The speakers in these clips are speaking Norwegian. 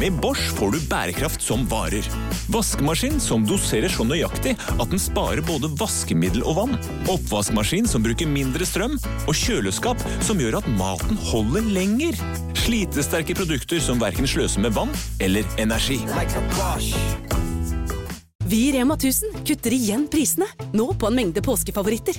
Med Bosch får du bærekraft som varer. Vaskemaskin som doserer så nøyaktig at den sparer både vaskemiddel og vann. Oppvaskmaskin som bruker mindre strøm. Og kjøleskap som gjør at maten holder lenger. Slitesterke produkter som verken sløser med vann eller energi. Vi i Rema 1000 kutter igjen prisene, nå på en mengde påskefavoritter.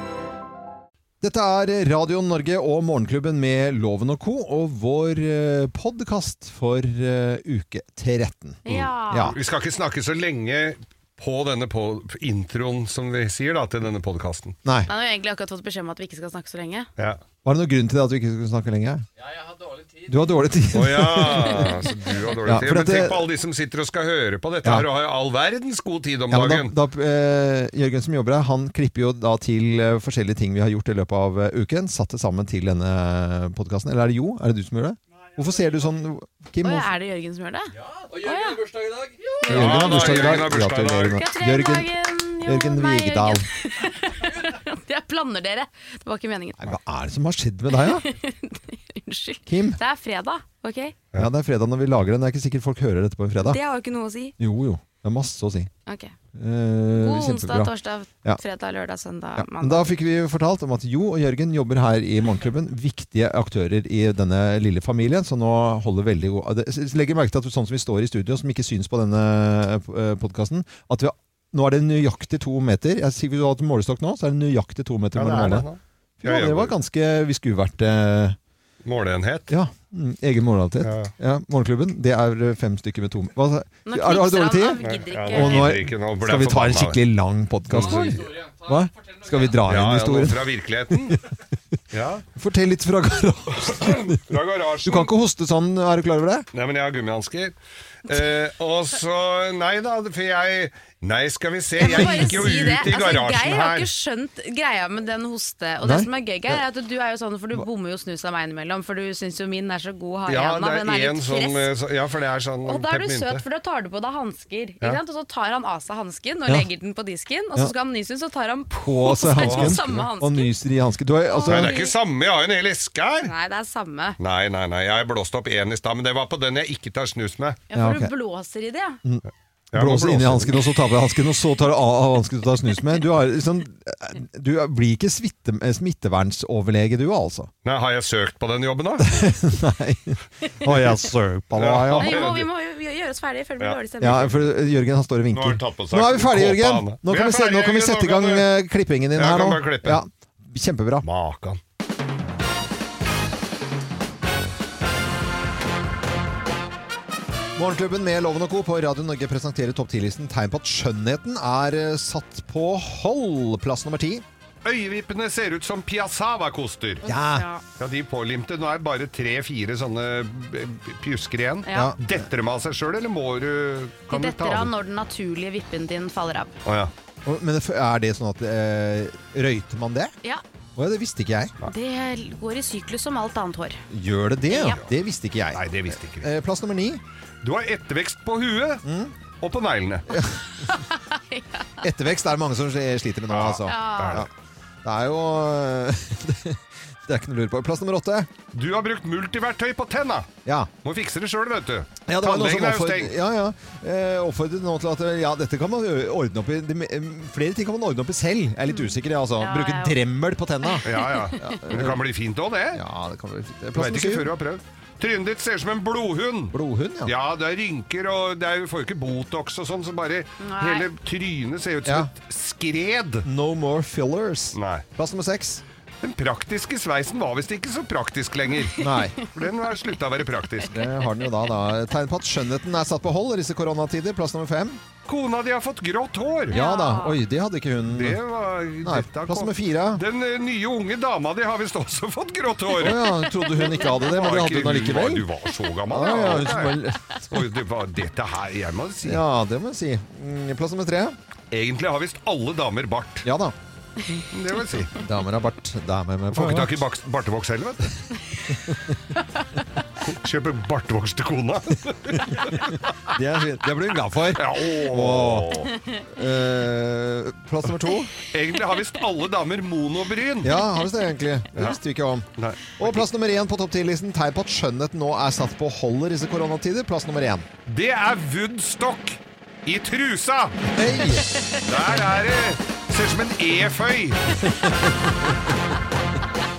Dette er Radio Norge og Morgenklubben med Loven og co. og vår eh, podkast for eh, uke 13. Ja. ja. Vi skal ikke snakke så lenge på denne på introen, som vi sier, da, til denne podkasten. Nei. Nei, nå har jeg egentlig akkurat fått beskjed om at vi ikke skal snakke så lenge. Ja. Var det noen grunn til det at vi ikke skulle snakke lenge? Ja, jeg har dårlig tid. Du Å har dårlig tid. ja, så du har dårlig Ja, tid. for Men at det- tenk på alle de som sitter og skal høre på dette Ja. her og har jo all verdens god tid om Ja, dagen. men da, da, eh, Jørgen som jobber her, han klipper jo da til eh, forskjellige ting vi har gjort i løpet av eh, uken. Satt det sammen til denne podkasten. Eller er det jo? Er det du som gjør det? Hvorfor ser du sånn, Kim? Oi, hvorfor- er det Jørgen som gjør det? Og Jørgen har bursdag i dag. Jørgen har Ja, da, bursdag i dag. Jørgen har bursdag i dag. Gratulerer med- Gratulerer med Jørgen, dagen! Jo, Jørgen nei, Vigdal. Jørgen. Jeg blander dere. Det var ikke meningen. Nei, Hva er det som har skjedd med deg, da? Unnskyld. Kim? Det er fredag, OK? Ja, det er fredag når vi lager den. Det er ikke sikkert folk hører dette på en fredag. Det har jo ikke noe å si. Jo, jo. Det er masse å si. Ok. Eh, God onsdag, kjempebra. torsdag, Ja. fredag, lørdag, søndag, Ja, men mandag. da fikk vi fortalt om at Jo og Jørgen jobber her i Morgenklubben. Viktige aktører i denne lille familien. Så nå holder veldig god Det- s- Legger merke til at sånn som vi står i studio, som ikke syns på denne podkasten At vi har, nå er det nøyaktig to meter. Jeg sier Hvis du har hatt målestokk nå, så er det nøyaktig to meter Ja, det mellom er det. alle. Ja, Ja, det var ganske Vi skulle vært eh, Måleenhet. Ja. mm, Egen morgenalitet. Ja. Ja, morgenklubben. Det er eh, fem stykker med to Hva, Nå har, har du dårlig knipser han, tid? han gidder ikke. Og nå er- gidder ikke, nå ble Skal vi jeg ta en forbanna. skikkelig lang podkast? Hva? Skal vi dra ja, inn ja, noe historien? fra virkeligheten. Ja, Fortell litt fra garasjen. fra Du garasjen. kan ikke hoste sånn, er du klar over det? Nei, men jeg har gummihansker. Eh, og så Nei da, for jeg Nei, skal vi se. Jeg, må bare gikk jo si ut det. i garasjen altså, Geir har her. ikke skjønt greia med den hoste. Og Nei. det som er gøy, Geir, er at du er jo sånn, for du bommer jo snus av meg innimellom, for du syns jo min er så god hard i Ja, handa, det den er er en litt sånn fresk. eh, så, Ja, for det er sånn Og da er du peppermynte. søt, for da tar du på deg hansker. Ja. Ikke sant? Og så tar han av seg hansken og Ja. legger den på disken. Og Ja. så skal han nyse, så tar han på På seg hansken samme og hansken. nyser i hansken. Du har altså Nei, det er ikke samme. Jeg har jo en hel eske her. Nei, det er samme. Nei, nei, nei. Jeg blåste opp én i stad, men det var på den jeg ikke tar snus med. ok. Ja, for Mm. du blåser i det, ja. Jeg må blåser inn i blåse. hansken, og så tar du av hansken, og så tar du av av hansken og tar snus med. Du, har, liksom, du blir ikke smitte, eh, smittevernsoverlege, du altså. Nei, har jeg søkt på den jobben, da? Nei. Å, jeg søpa deg, ja. Nei, Vi må, vi må jo gjøre oss ferdige før det blir Ja. dårlig stemning. Ja, for Jørgen han står og Nå har vinker. han tatt på seg Nå er vi ferdige, kåpa, Jørgen! han. Nå Vi er kan vi, sette, nå ferdige, kan vi Jørgen, sette i nå gang kan eh, klippingen din Ja, her kan nå. bare klippe. Ja, kjempebra. Makan. Morgenklubben med Loven og Co. på Radio Norge presenterer topp 10-listen tegn på at skjønnheten er eh, satt på hold. Plass nummer ti. Øyevippene ser ut som piazzava-koster. Ja. Ja, de pålimte. Nå er det bare tre-fire sånne eh, pjusker igjen. Ja. Ja. Detter de av seg sjøl, eller må du Kan De du ta detter av den? når den naturlige vippen din faller av. Å ja. Og- Men det f- er det sånn at eh, Røyter man det? Ja, Å, ja, det visste ikke jeg. det går i syklus som alt annet hår. Gjør det det? Ja. Det visste ikke jeg. Nei, det visste ikke vi. Eh, plass nummer ni. Du har ettervekst på huet Mm. og på neglene. Ettervekst er det mange som sli- sliter med nå, altså. Der. Det er jo eh, Det er ikke noe å lure på. Plass nummer åtte. Du har brukt multiverktøy på tenna. Ja. Må fikse det sjøl, vet du. Ja, det var noen som Tannlegen er jo oppfordret, stengt. ja, ja. Eh, oppfordret nå til at ja, dette kan man ø- ordne opp i det, me- em, Flere ting kan man ordne opp i selv. Jeg er litt usikker, jeg, altså. Mm. Ja, Bruke ja. dremmel på tenna. Ja, ja. Men det kan bli fint òg, det. Ja, det kan være fint. Eh, Du Plass vet nummer ikke før syv. du har prøvd. Trynet ditt ser ut som en blodhund. Blodhund, ja. Ja, det er rynker, og det er, vi får jo ikke Botox og sånn, så bare Nei. hele trynet ser ut som Ja. et skred. No more fillers. Nei. Plass nummer seks. Den praktiske sveisen var visst ikke så praktisk lenger. Nei. For den har slutta å være praktisk. Det har den jo da, da. Tegn på at skjønnheten er satt på hold i disse koronatider. Plass nummer fem. Kona di har fått grått hår! Ja da. Oi, det hadde ikke hun. Det var Nei, dette plass kom- nummer fire. Den eh, nye unge dama di har visst også fått grått hår! Å ja, trodde hun ikke hadde det, men det Var hadde hun ikke- allikevel. Du var så gammel, Ja, ja, hun Nei. som var- Oi, det var dette her, jeg må si. ja, det må jeg si. Mm, Plass nummer tre. Egentlig har visst alle damer bart. Ja da. Det vil si. Damer har bart. Damer med Får ikke tak i bak- bartevoks heller, vet du. Kjøper bartevoks til kona. Det, er fint. det blir hun glad for. Ja, åh. Eh, plass nummer to. Egentlig har visst alle damer monobryn. Ja, har vi det egentlig? Det visste vi ikke om. Nei. Og plass nummer én på topp 10-listen. Tegn på at skjønnheten nå er satt på hold i disse koronatider. Plass nummer én. Det er Woodstock i trusa! Hei! Der er det Ser ut som en e-føy.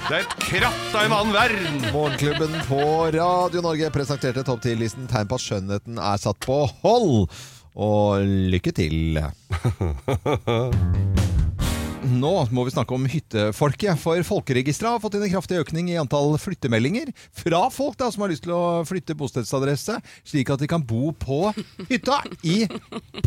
Det er et kratt av en annen verden. Morgenklubben på Radio Norge presenterte topp 10-listen tegn på at skjønnheten er satt på hold. Og lykke til. Nå må vi snakke om hyttefolket, for Folkeregisteret har fått inn en kraftig økning i antall flyttemeldinger fra folk da, som har lyst til å flytte bostedsadresse, slik at de kan bo på hytta i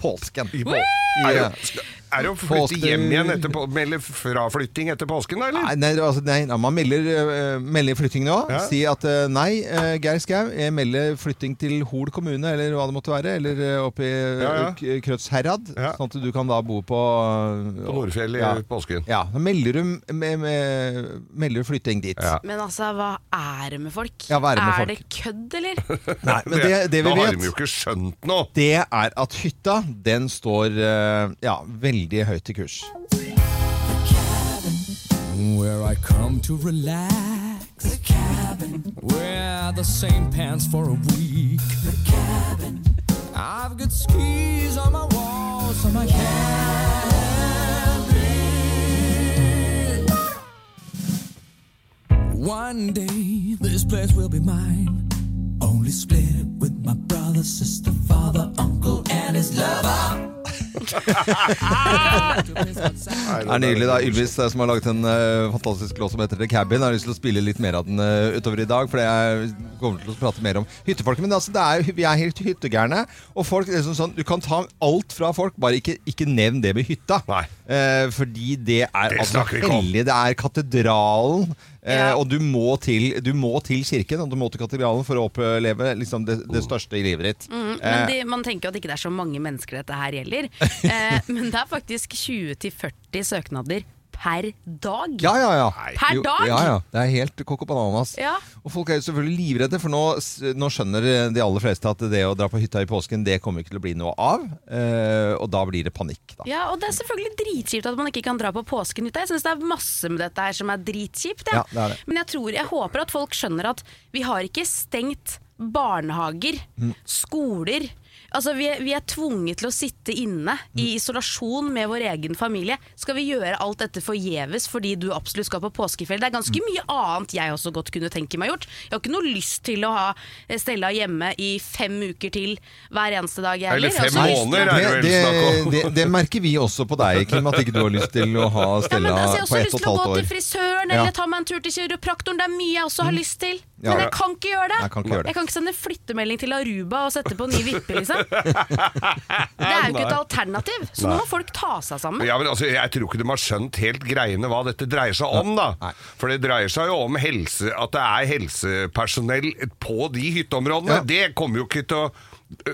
påsken. I på- I- Er det, er det å flytte Påske- hjem igjen etter på, eller fraflytting etter påsken, da, eller? Nei, nei, altså, nei, nei, man melder, eh, melder flytting nå. Ja. Si at eh, nei, eh, Geir Skau, jeg melder flytting til Hol kommune, eller hva det måtte være. Eller eh, oppe i Ja, ja. eh, Krødsherad. Ja. Sånn at du kan da bo på eh, På Nordfjell i påsken. Ja. Da melder du, med, med, melder du flytting dit. Ja. Men altså, hva er det med folk? Ja, hva er det med folk? det kødd, eller? Nei, men det, det vi da har vet de jo ikke skjønt noe. det er at hytta, den står eh, ja, veldig høyt i kurs. Where I come to relax. The cabin. Wear the same pants for a week. The cabin. I've got skis on my walls, on my cabin. One day this place will be mine. Only split it with my brother, sister, father, uncle, and his lover. Det er nydelig da, Ylvis eh, som har laget en eh, fantastisk låt som heter The Cabin. Jeg har lyst til å spille litt mer av den eh, utover i dag, for jeg kommer til å prate mer om hyttefolket. Men altså, det er, vi er helt hyttegærne. Og folk, det er sånn, sånn, du kan ta alt fra folk, bare ikke, ikke nevn det med hytta. Nei. Eh, fordi det er Det altså snakker vi ikke om. hellig, det er katedralen. eh, Ja. Og du må, til, du må til kirken og du må til katedralen for å oppleve liksom, det, det største i livet ditt. Mm, Men de, man tenker jo at det ikke er så mange mennesker dette her gjelder. Eh, men det er faktisk 20-40 søknader per dag. Ja, ja, ja. Per Jo, dag? Ja, ja. Det er helt kokk og bananas. Ja. Og folk er jo selvfølgelig livredde, for nå, s- nå skjønner de aller fleste at det å dra på hytta i påsken, det kommer ikke til å bli noe av. Eh, og da blir det panikk, da. Ja, og det er selvfølgelig dritkjipt at man ikke kan dra på påsken ut. Jeg synes det er masse med dette her som er dritkjipt. jeg. Ja, det er det. Men jeg tror, jeg håper at folk skjønner at vi har ikke stengt barnehager, Mm. skoler. Altså, vi er, vi er tvunget til å sitte inne i Mm. isolasjon med vår egen familie. Skal vi gjøre alt dette forgjeves fordi du absolutt skal på påskefjell? Det er ganske Mm. mye annet jeg også godt kunne tenke meg gjort. Jeg har ikke noe lyst til å ha eh, Stella hjemme i fem uker til hver eneste dag. jeg Eller heller. Jeg fem har også lyst til å- måneder er det Det, vel snakk det, om. det, det merker vi også på deg, Kim, at ikke du har lyst til å ha Ja, men Stella altså, jeg har på også ett lyst og et til å gå halvt til år. Ja. frisøren Mm. eller ta meg en tur til kiropraktoren. Det er mye jeg også har lyst til. Ja. Men jeg kan ikke gjøre det. Jeg kan ikke gjøre det. sende flyttemelding til Aruba og sette på ny vippe, liksom. Det er jo ikke et alternativ. Så nå må folk ta seg sammen. Ja, men altså, Jeg tror ikke de har skjønt helt greiene hva dette dreier seg om, da. Nei. For det dreier seg jo om helse, at det er helsepersonell på de hytteområdene. Ja. Det kommer jo ikke til å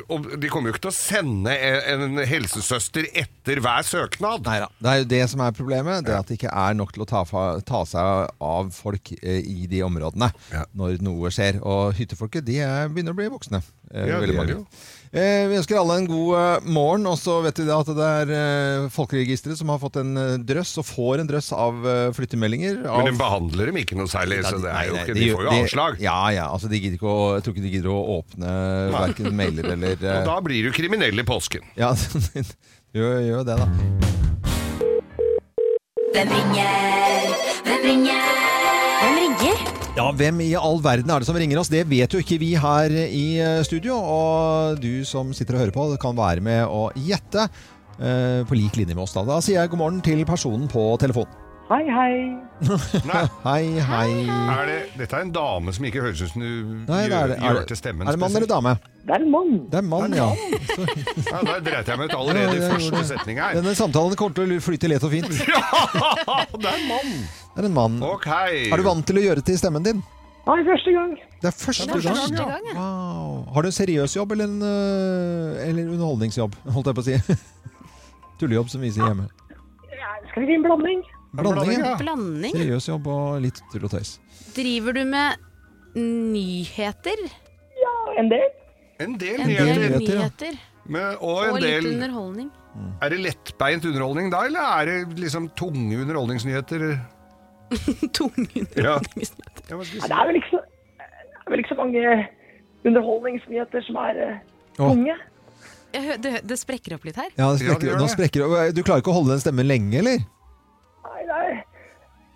og De kommer jo ikke til å sende en en helsesøster etter hver søknad. Neida. Det er jo det som er problemet, det er at det ikke er nok til å ta, fa ta seg av folk eh, i de områdene Ja. når noe skjer. Og hyttefolket de er, begynner å bli voksne. eh, Ja, veldig det er mange. det jo. Eh, vi ønsker alle en god eh, morgen, og så vet vi da at det er eh, Folkeregisteret som har fått en eh, drøss, og får en drøss, av eh, flyttemeldinger. Av Men de behandler dem ikke noe særlig, så det er jo Nei, nei, ikke, de de gjør- får jo de- avslag. Ja, ja, altså de gidder ikke å, jeg tror ikke de gidder å åpne verken mailer eller eh, Og da blir du kriminell i påsken. Ja, gjør gjør det, da. Hvem ringer? Hvem ringer? Hvem ringer? Ja, Hvem i all verden er det som ringer oss? Det vet jo ikke vi her i eh, studio. Og du som sitter og hører på, kan være med å gjette eh, på lik linje med oss. Da Da sier jeg god morgen til personen på telefonen. Hei, hei. Nei, Hei, hei. er det, dette er en dame som ikke høres ut som du Nei, det er, gjør, det, er, gjør til det, stemmen. er det mann eller spesielt. dame? Det er en mann. Det er mann, ja. Ja, der dreit jeg meg ut Ja, det allerede i gjorde første det. setning her. Denne samtalen kommer til å flyte lett og fint. Det det er en mann! er en mann. Ok. Er du vant til å gjøre det til stemmen din? Nei, første gang. Det er første gang. Første gang, ja. Wow. Har du en seriøs jobb eller en øh, eller underholdningsjobb, holdt jeg på å si? Tullejobb, som vi sier hjemme. Skal vi si en blanding? Blanding, ja. Blanding. Seriøs jobb og litt tull og tøys. Driver du med nyheter? Ja, en del. En del En del nyheter. nyheter, ja. nyheter. Men, og en Og litt del underholdning. Er det lettbeint underholdning da, eller er det liksom tunge underholdningsnyheter? Tunge Ja. underholdningsnyheter. Jeg må Nei, ikke si- det er vel ikke så, det er vel ikke så mange underholdningsnyheter som er eh, Åh. tunge. Jeg hø- Det, det sprekker opp litt her. Ja, det Ja, det sprekker, gjør nå det. sprekker det. Du klarer ikke å holde den stemmen lenge, eller? Nei, det er,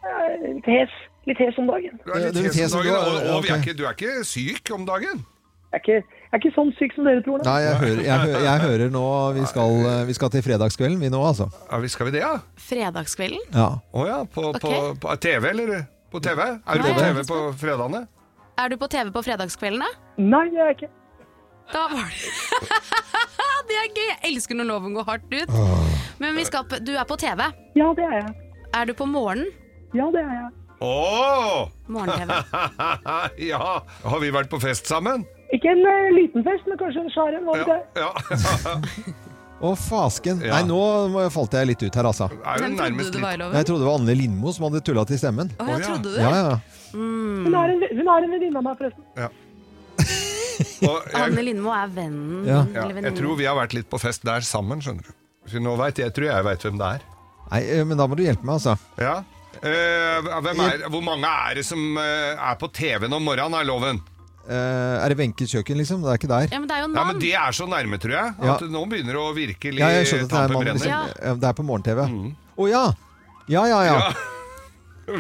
det er litt hes, litt hes om dagen. Du er litt Det er litt hes om hes om dagen, dagen, og, og vi er ok. ikke, du er ikke syk om dagen? Jeg er ikke, jeg er ikke sånn syk som dere tror. Nei, jeg hører, jeg, hø- jeg hører nå vi skal, øh, vi skal til fredagskvelden, vi nå, altså. Ja, vi- skal vi det, ja? Fredagskvelden. Ja. Å ja, på, på, Ok. på TV, eller? På TV? Er du Nei, på jeg er TV ikke på fredagene? Er du på TV på fredagskvelden, da? Nei, jeg er ikke. Da var det Det er gøy! Jeg elsker når loven går hardt ut. Men vi skal på, du er på TV. Ja, det er jeg. Er du på morgenen? Ja, det er jeg. Åh! Morgen-TV. ja! Har vi vært på fest sammen? Ikke en eh, liten fest, men kanskje en skjær en. hva vet Ja. jeg. ja. Å, fasken. Ja. Nei, nå må- falt jeg litt ut her, altså. Er jo Hvem trodde nærmest du det var, litt Loven? Jeg trodde det var Anne Lindmo som hadde tulla til stemmen. Å, Å, jeg ja. trodde det. Ja, ja. Hun er en, hun er en venninne av meg, forresten. og Anne jeg, Lindmo er vennen Ja. din, ja, eller jeg venninnen. tror vi har vært litt på fest der sammen, skjønner du. Så nå vet jeg, jeg tror jeg vet hvem det er. Nei, øh, men da må du hjelpe meg, altså. Ja. Eh, hvem er, hvor mange er det som eh, er på TV-en om morgenen, er loven? Eh, er det Wenches kjøkken, liksom? Det er ikke der. Ja, men det er jo en Nei, men mann. Det er så nærme, tror jeg. At Ja. det nå begynner det å virke litt Ja, jeg skjønner at det er tampen mann. brenner. Liksom. Ja. Eh, Det er på morgen-TV. Å ja! Ja, ja, ja. Mm. Ja.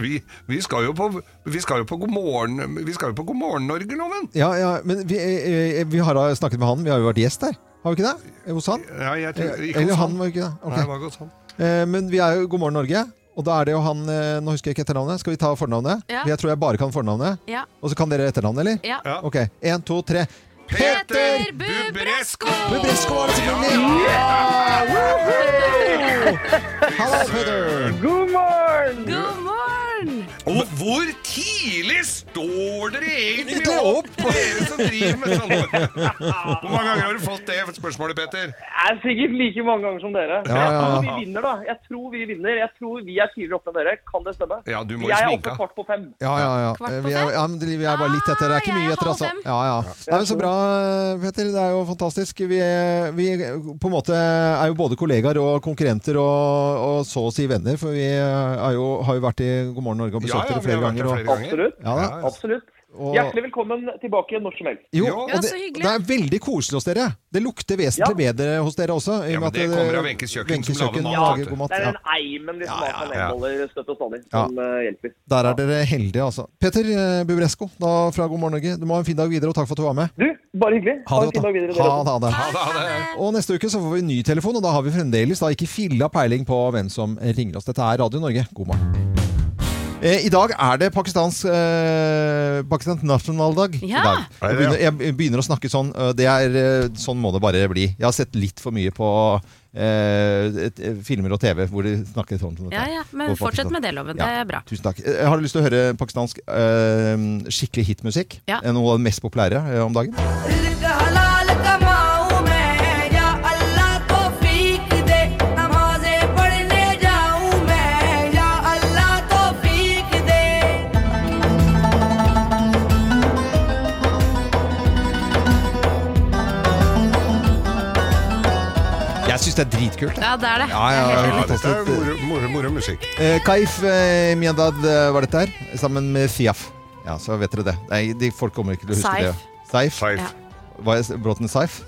Vi, vi, skal jo på, vi skal jo på God morgen Vi skal jo på God morgen Norge, Loven. ja, ja. Men vi, eh, eh, vi har da snakket med han. Vi har jo vært gjest der. Har vi ikke det? Eh, Hos han? Ja, jeg tror, Eh, ikke Eller hos han, var ikke det? Ok. Nei, det var godt han. Eh, men vi er jo God morgen Norge. Og da er det jo han eh, Nå husker jeg ikke etternavnet. Skal vi ta fornavnet? Ja. Jeg tror jeg bare kan fornavnet. Ja. Og så kan dere etternavnet, eller? Ja. Ja. Ok. Én, to, tre. Peter Bubresko! Bubresko er det selvfølgelig! Hallo, Peter! God morgen! God morgen! Og hvor tidlig står dere egentlig Egentlig opp, dere som driver med sånn Hvor mange ganger har du fått det spørsmålet, Peter? Det er sikkert like mange ganger som dere. Ja, ja, ja. Jeg tror vi vinner, da. Jeg tror vi vinner. Jeg tror vi er tidligere oppe enn dere. Kan det stemme? Ja, du må jo jeg er sminke. oppe kvart på fem. Ja, ja, ja. Kvart på Eh, Vi er, fem? ja men vi er bare litt etter. Det er ikke Ah, jeg mye er etter, halv altså. fem. Ja, ja. Nei, men så bra, Petter. Det er jo fantastisk. Vi, er- vi på en måte er jo både kollegaer og konkurrenter og, og så å si venner, for vi er jo, har jo vært i God morgen Norge og besøkt dere flere ganger. Og, Absolutt. ja, da. Absolutt. Og- Hjertelig velkommen tilbake når som helst. Jo, Ja, og så det, hyggelig. det er veldig koselig hos dere. Det lukter vesentlig bedre hos dere også. i og Ja, men med at det kommer av Wenches kjøkken, som Wenches lager kjøkken mat, vet lager du. god mat. Det er Ja. den eimen vi som har som ja. eneboller støtt og stadig, Ja. som eh, hjelper. Der er dere heldige, altså. Petter eh, Bubresko da, fra God morgen Norge, du må ha en fin dag videre, og takk for at du var med. Du, bare hyggelig. Ha, en det fin dag godt, videre. dere da. Ha også. det, ha det. Ja, da, det er. Og neste uke så får vi ny telefon, og da har vi fremdeles da ikke filla peiling på hvem som ringer oss. Dette er Radio Norge. God morgen. Eh, I dag er det Pakistans eh, Pakistans nasjonaldag. i Ja. dag. Er Jeg det begynner, det? jeg begynner å snakke sånn. eh, Det er, eh, sånn må det bare bli. Jeg har sett litt for mye på eh, et- eh, filmer og TV hvor de snakker sånn. som dette Ja, her. ja, men På fortsett Pakistan. med det, Loven. Ja. Det er bra. Tusen takk. Eh, Har du lyst til å høre pakistansk eh, skikkelig hitmusikk? Ja. Eh, Noe av det mest populære eh, om dagen? Jeg syns det er dritkult. Ja, det er det. Ja, ja, Ja, dette er fantastisk. moro, moro, moro musikk. Eh, Kaif eh, Miadad eh, var dette her, sammen med Fiaf. Ja, så vet dere det. Nei, de, folk kommer ikke til å huske Saif. det. Seif. Seif. Ja. Var jeg s- Bråten Seif?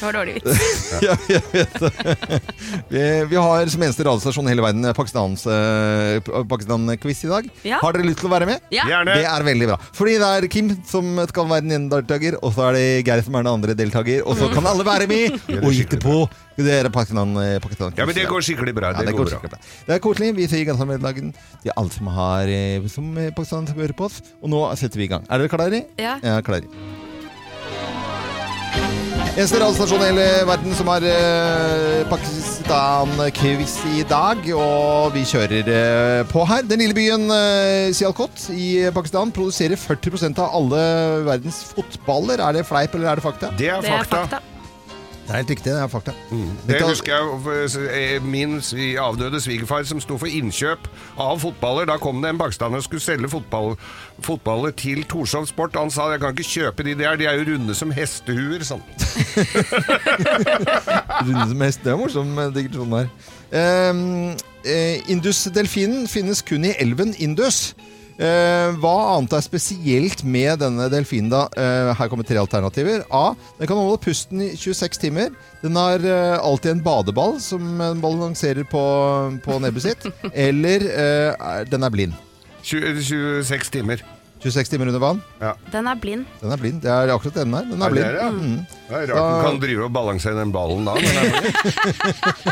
Det var dårlig vits. Ja, jeg vet det. Vi, vi har som eneste radiostasjon i hele verden eh, Pakistans, eh, Pakistan-quiz i dag. Ja. Har dere lyst til å være med? Ja. Gjerne. Det er veldig bra. Fordi det er Kim som skal være den ene deltaker, og så er det Geir som er den andre deltaker, og så Mm. kan alle være med! Ja, det er Og gikk det på dere Pakistan, eh, Pakistan Ja, men det går skikkelig bra. Ja, det går skikkelig bra. Det er koselig. Vi sier gratulerer til alle som har eh, som eh, Pakistan som hører på oss. Og nå setter vi i gang. Er dere klare? Ja. ja klare. Eneste radiostasjon i hele verden som har eh, Pakistan-quiz i dag. Og vi kjører eh, på her. Den lille byen eh, Sialkot i Pakistan produserer 40 av alle verdens fotballer. Er det fleip, eller er det fakta? Det er Det er fakta. fakta. Det er helt riktig, det er fakta. Det Dette- husker jeg eh, min svi- avdøde svigerfar som sto for innkjøp av fotballer. Da kom det en pakistaner og skulle selge fotball, fotballer til Torshov Sport. Han sa jeg kan ikke kjøpe de der, de er jo runde som hestehuer. Sånn. Runde som hest. Det er morsom eh, digresjon her. Ehm, eh, Indus-delfinen finnes kun i elven Indus. Eh, hva annet er spesielt med denne delfinen, da? Eh, her kommer tre alternativer. A. Den kan holde pusten i 26 timer. Den har eh, alltid en badeball som eh, balanserer på, på nebbet sitt. Eller eh, er- den er blind. 26 timer. 26 timer under vann? Den er blind. Den er blind. Det er akkurat den der. Den er blind. det, ja. Mm. det er rart Da- den kan drive og balansere den ballen da. Men det er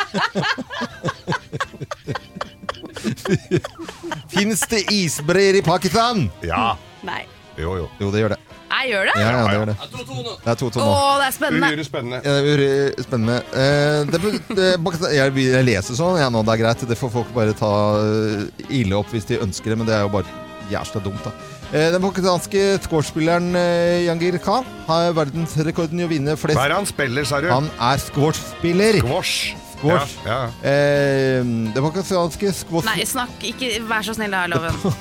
Fins det isbreer i Pakistan? Ja. Nei. Hmm. Jo, jo. Jo, det gjør det. Jeg gjør det? Ja, ja, det gjør det. Det er to to nå. Å, det er spennende. Uhyre spennende. Ja, det er uhyre spennende. Eh, det, det, Pakistan- jeg, begynner- jeg leser sånn, ja, nå, det er greit. Det får folk bare ta eh, ille opp hvis de ønsker det, men det er jo bare jævla dumt, da. Eh, den pakistanske squashspilleren eh, Jangir Khan har verdensrekorden i å vinne flest Hva er det han spiller, sa du? Han er squashspiller! Squash. Squash. Ja, ja. Eh, den pakistanske squash... Nei, snakk ikke Vær så snill, da, Loven.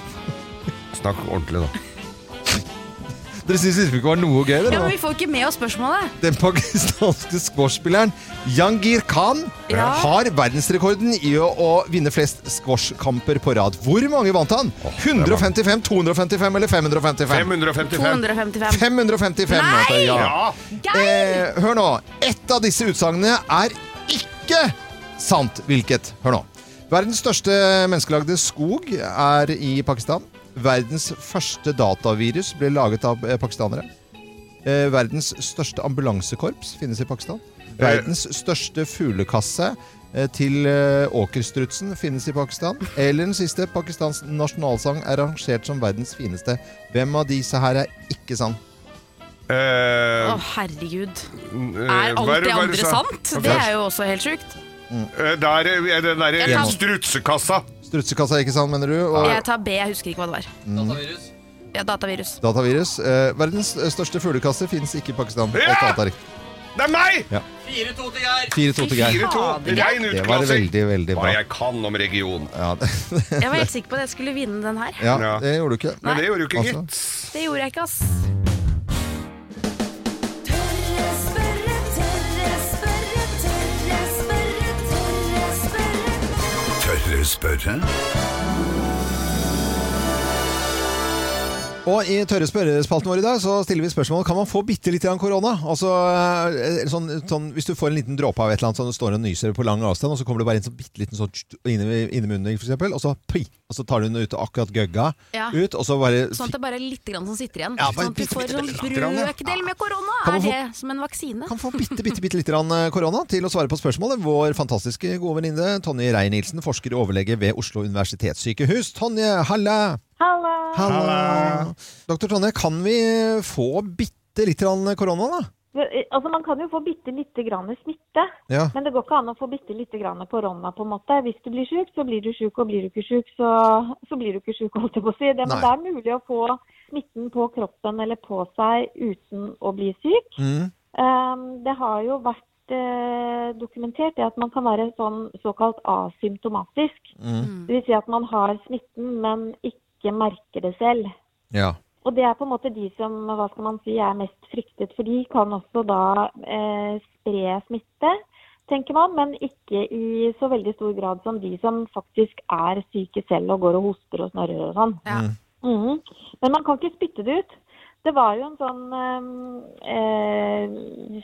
Snakk ordentlig, da. Dere syns det ikke var noe gøy? dere, Ja, nå? men Vi får ikke med oss spørsmålet. Den pakistanske squashspilleren Jangir Khan Ja. har verdensrekorden i å, å vinne flest squashkamper på rad. Hvor mange vant han? 155, 255 eller 555? 555. 255. 555. Nei! altså, Ja. Eh, hør nå. Ett av disse utsagnene er ikke sant. Hvilket? Hør nå. Verdens største menneskelagde skog er i Pakistan. Verdens første datavirus ble laget av eh, pakistanere. Eh, verdens største ambulansekorps finnes i Pakistan. Verdens største fuglekasse eh, til eh, åkerstrutsen finnes i Pakistan. Eller den siste, Pakistans nasjonalsang er rangert som verdens fineste. Hvem av disse her er ikke sann? Å, Eh, herregud. eh, Er hva alt det hva andre sa? sant? Det er jo også helt sjukt. Eh, Der er den Jeg derre kan- strutsekassa. Strutsekassa er ikke sann, mener du? Og, Jeg tar B, jeg husker ikke hva det var. Datavirus? Ja, datavirus. Datavirus. Eh, verdens største fuglekasse finnes ikke i Pakistan. Ja! Alt annet er riktig. Det er meg! Ja. 4-2 til Geir. 4-2 til Geir. 4-2. Rein Det var utklassing. veldig, veldig Hva bra. jeg kan om region. Ja, Jeg var helt sikker på at jeg skulle vinne den her. ja, det gjorde du ikke. Men det gjorde du ikke, Altså. gitt. Det gjorde jeg ikke, ass. Tørre spørre? Og i tørre spørrespalten vår i dag så stiller vi spørsmål Kan man få bitte litt grann korona. Altså, eh, sånn, sånn, hvis du får en liten dråpe av et eller annet, sånn, det står og nyser på lang avstand, og så kommer det bare en sånn bitte liten sånn tsk, inn i inn i munnen, for eksempel, og så, pri, og så tar du den ut og akkurat gøgga Ja. ut, og så bare Sånn at det er bare litt grann som sitter igjen. Ja, bare sånn at du bitte, får bitte sånn lite grann, ja. brøkdel med korona. Kan Er man få- det som en vaksine? kan få bitte, bitte, bitte litt grann eh, korona til å svare på spørsmålet. Vår fantastiske gode venninne Tonje Reier-Nielsen, forsker og overlege ved Oslo universitetssykehus. Tonje, halla! Halla! Halla! Doktor Tonje, kan vi få bitte litt grann korona, da? Altså, man kan jo få bitte lite grann smitte, Ja. men det går ikke an å få bitte lite grann korona. på en måte. Hvis du blir syk, så blir du syk, og blir du ikke syk, så, så blir du ikke syk, holdt jeg på å si. Det, men Nei. det er mulig å få smitten på kroppen eller på seg uten å bli syk. Mm. Ehm, det har jo vært eh, dokumentert det at man kan være sånn såkalt asymptomatisk. Det vil si at man har smitten, men ikke merker det selv. Ja. Og det er på en måte de som hva skal man si, er mest fryktet, for de kan også da eh, spre smitte, tenker man, men ikke i så veldig stor grad som de som faktisk er syke selv og går og hoster og snørrer og sånn. Ja. Mhm. Men man kan ikke spytte det ut. Det var jo en sånn eh,